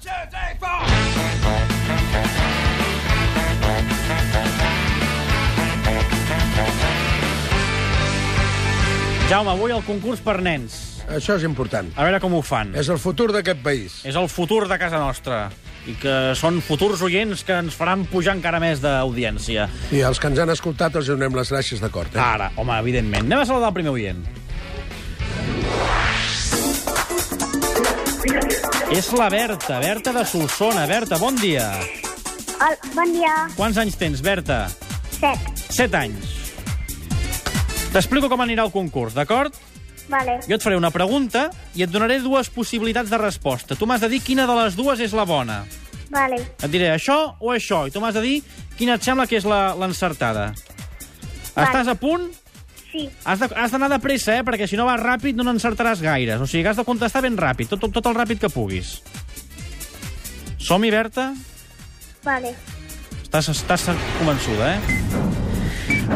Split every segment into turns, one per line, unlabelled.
two, three, four.
Jaume, avui el concurs per nens.
Això és important.
A veure com ho fan.
És el futur d'aquest país.
És el futur de casa nostra. I que són futurs oients que ens faran pujar encara més d'audiència.
I els que ens han escoltat els donem les gràcies d'acord. Eh?
Ara, home, evidentment. Anem a saludar el primer oient. És la Berta, Berta de Solsona. Berta, bon dia.
Hola, bon dia.
Quants anys tens, Berta?
Set.
Set anys. T'explico com anirà el concurs, d'acord?
Vale.
Jo et faré una pregunta i et donaré dues possibilitats de resposta. Tu m'has de dir quina de les dues és la bona.
Vale.
Et diré això o això, i tu m'has de dir quina et sembla que és la- l'encertada.
Vale.
Estàs a punt?
Sí.
Has de- has d'anar de, pressa, eh? perquè si no vas ràpid no n'encertaràs gaires. O sigui, que has de contestar ben ràpid, tot, tot, tot el ràpid que puguis. Som-hi, Berta?
Vale.
Estàs, estàs convençuda, eh?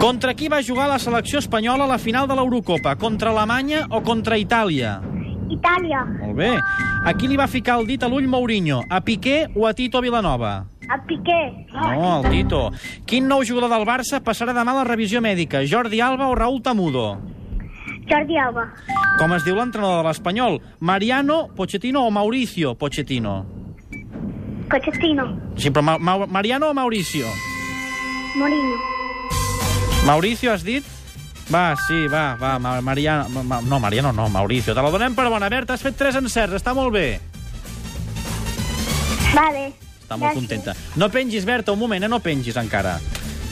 Contra qui va jugar la selecció espanyola a la final de l'Eurocopa? Contra Alemanya o contra Itàlia?
Itàlia.
Molt bé. A qui li va ficar el dit a l'ull Mourinho? A Piqué o a Tito Vilanova?
A Piqué.
No, al Tito. Quin nou jugador del Barça passarà demà a la revisió mèdica? Jordi Alba o Raúl Tamudo?
Jordi Alba.
Com es diu l'entrenador de l'Espanyol? Mariano Pochettino o Mauricio Pochettino?
Cochetino.
Sí, però Ma Ma Mariano o Mauricio?
Mourinho.
Mauricio, has dit? Va, sí, va, va, Ma Mariano... Ma- Ma no, Mariano no, Mauricio. Te la donem per bona. Berta, has fet tres encerts, està molt bé.
Vale.
Està molt contenta. No pengis, Berta, un moment, eh? no pengis encara.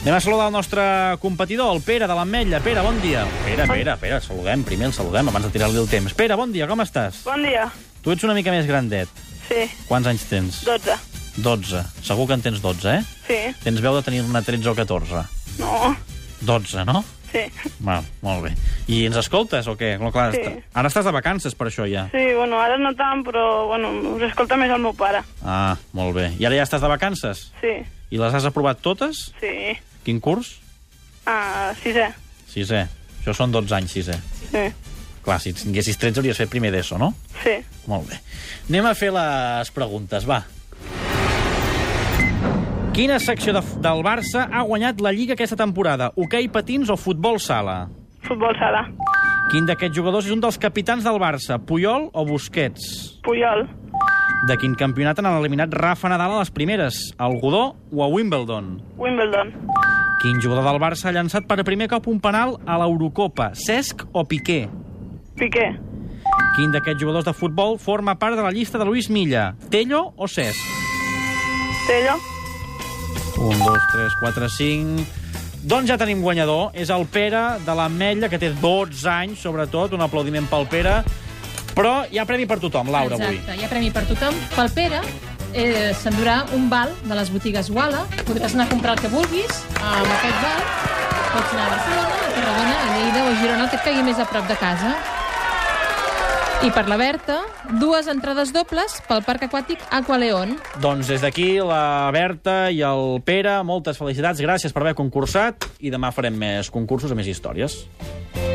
Anem a saludar el nostre competidor, el Pere de l'Ametlla. Pere, bon dia. Pere, Pere, Pere, saludem, primer el saludem, abans de tirar-li el temps. Pere, bon dia, com estàs?
Bon dia.
Tu ets una mica més grandet.
Sí,
Quants anys tens?
12.
12. Segur que en tens 12, eh?
Sí,
Tens veu de tenir una 13 o 14.
no,
12, no?
sí.
Val, molt bé. I ens escoltes o què? No, clar,
Sí.
est- Ara estàs de vacances, per això, ja.
Sí, bueno, ara no tant, però, bueno, us escolta més el meu pare.
Ah, molt bé. I ara ja estàs de vacances?
Sí,
I les has aprovat totes?
sí.
Quin curs?
Ah, sisè.
Sisè. Això són 12 anys, sisè.
Sí,
Clar, si tinguessis 13 hauries fet primer d'ESO, no?
sí.
Molt bé. Anem a fer les preguntes, va. Quina secció de, del Barça ha guanyat la Lliga aquesta temporada? Hoquei patins o futbol sala?
Futbol sala.
Quin d'aquests jugadors és un dels capitans del Barça? Puyol o Busquets?
Puyol.
De quin campionat han eliminat Rafa Nadal a les primeres? Al Godó o a Wimbledon?
Wimbledon.
Quin jugador del Barça ha llançat per primer cop un penal a l'Eurocopa? Cesc o Piqué?
Piqué.
Quin d'aquests jugadors de futbol forma part de la llista de Luis Milla? Tello o Cesc?
Tello.
1, 2, 3, 4, 5... Doncs ja tenim guanyador. És el Pere de l'Ametlla, que té 12 anys, sobretot. Un aplaudiment pel Pere. Però hi ha premi per tothom, Laura,
Exacte, hi ha premi per tothom. Pel Pere eh, s'endurà un val de les botigues Wala. Podràs anar a comprar el que vulguis amb aquest val. Pots anar a Barcelona, a Tarragona, a Lleida o a Girona, el que et caigui més a prop de casa. I per la Berta, dues entrades dobles pel parc aquàtic Aqualeon.
avui. Doncs des d'aquí, la Berta i el Pere, moltes felicitats. Gràcies per haver concursat. I demà farem més concursos i més històries.